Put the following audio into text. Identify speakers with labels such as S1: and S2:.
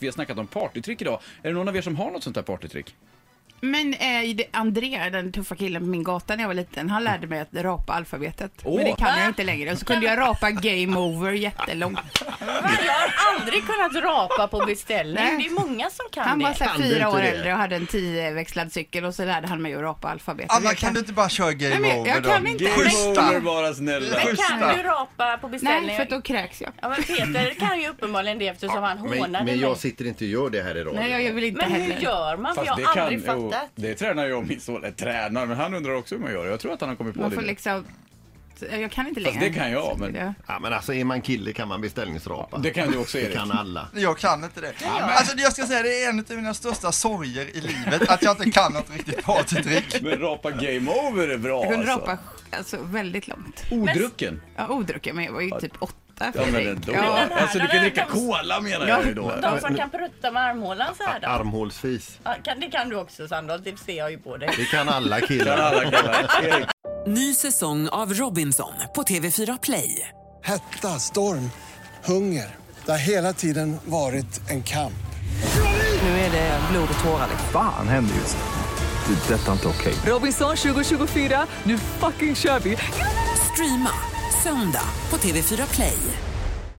S1: Vi har snackat om partytrick idag. Är det någon av er som har något sånt här partytrick?
S2: Men eh, det- André, den tuffa killen på min gata när jag var liten, han lärde mig att rapa alfabetet.
S1: Åh.
S2: Men det kan jag inte längre. Och så kunde jag rapa game over jättelångt.
S3: Va? Jag har aldrig kunnat rapa på beställning.
S2: Nej.
S3: Det är många som kan
S2: Han var
S3: det.
S2: så här
S4: Kan du
S2: fyra
S4: inte
S2: år
S4: det?
S2: äldre och hade en tioväxlad cykel och så lärde han mig att rapa alfabetet.
S5: Anna,
S2: Jag
S5: kan du inte bara köra
S2: Nej,
S5: game
S2: men jag
S5: over
S2: kan
S5: då?
S2: inte.
S5: Schyssta.
S1: Over, bara snälla.
S3: Men
S5: Schyssta.
S3: kan du rapa på beställning?
S2: Nej, för då kräks jag.
S3: Ja, men Peter kan ju uppenbarligen det eftersom han
S4: Men,
S3: hånade
S4: men
S3: mig.
S4: jag sitter inte och gör det här idag.
S2: Nej, jag vill inte
S3: Men hur
S2: heller.
S3: gör man? För
S1: Fast
S3: jag
S1: det
S3: har
S1: kan,
S3: aldrig
S1: jo,
S3: fattat.
S1: det tränar jag och min son. Eller tränar, men han undrar också hur man gör. Jag tror att han har kommit på
S2: Man
S1: det.
S2: får
S1: nu.
S2: liksom... Jag kan inte
S1: Fast
S2: längre.
S1: det kan jag, men-
S2: Ja.
S4: Ja, men alltså är man kille kan man beställningsrapa.
S1: Det kan du också
S4: Det
S1: Erik.
S4: kan alla.
S5: Jag kan inte det. Alltså jag ska säga, det är en av mina största sorger i livet, att jag inte kan något riktigt partytrick.
S1: Men rapa game over är bra
S2: Jag kunde
S1: alltså.
S2: rapa alltså, väldigt långt.
S1: Odrucken.
S2: Ja, odrucken, men jag var ju typ åtta.
S1: Ja men
S2: Fredrik.
S1: ändå.
S2: Ja.
S1: Alltså du kan dricka cola menar jag ju då.
S3: De som kan prutta med armhålan så här då.
S4: Armhålsfis.
S3: Ja, kan- Det kan du också Sandholt, det ser jag ju på dig.
S4: Det kan alla
S1: Kan
S4: killar.
S1: alla kalla. Erik.
S6: Ny säsong av Robinson på TV4 Play.
S7: Hetta, storm, hunger. Det har hela tiden varit en kamp.
S6: Nu är det blod och tårar.
S8: Fan händer just nu. Det. är Detta är inte okej.
S6: Robinson 2024, nu fucking kör vi! Streama söndag på TV4 Play.